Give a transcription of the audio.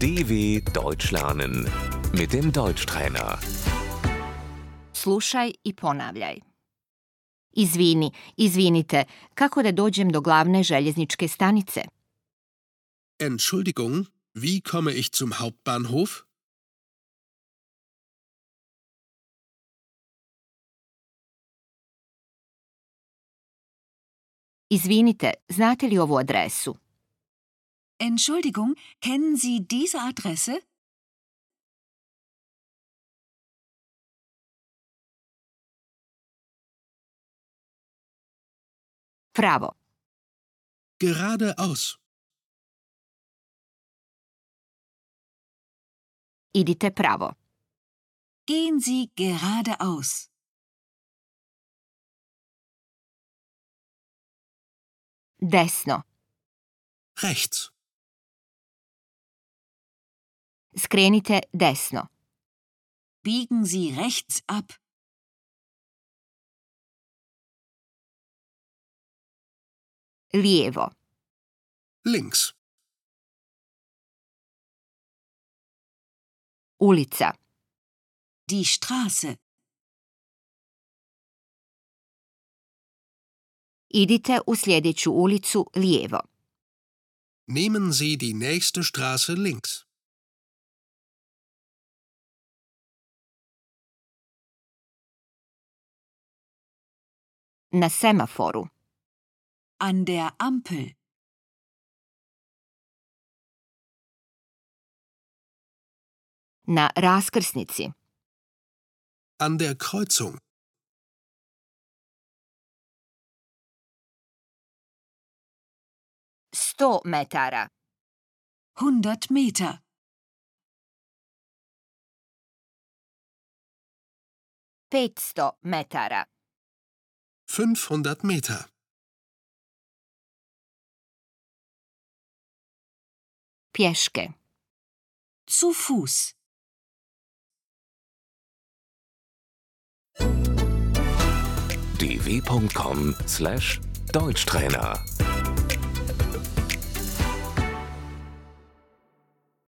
DW Deutsch lernen mit dem Deutschtrainer. Slušaj i ponavljaj. Izvini, izvinite, kako da dođem do glavne željezničke stanice? Entschuldigung, wie komme ich zum Hauptbahnhof? Izvinite, znate li ovu adresu? Entschuldigung, kennen Sie diese Adresse? Pravo. Geradeaus. Idite pravo. Gehen Sie geradeaus. Desno. Rechts. Skrenite desno. Biegen Sie rechts ab. Lijevo. Links. Ulica. Die Straße. Idite u sljedeću ulicu lijevo. Nehmen Sie die nächste Straße links. Na semaforu. An der Ampel. Na raskrsnici. An der Kreuzung. Sto metara. 100 Meter. Petsto metara. 500 Meter. Pješke. Zu Fuß. dw.com/deutschtrainer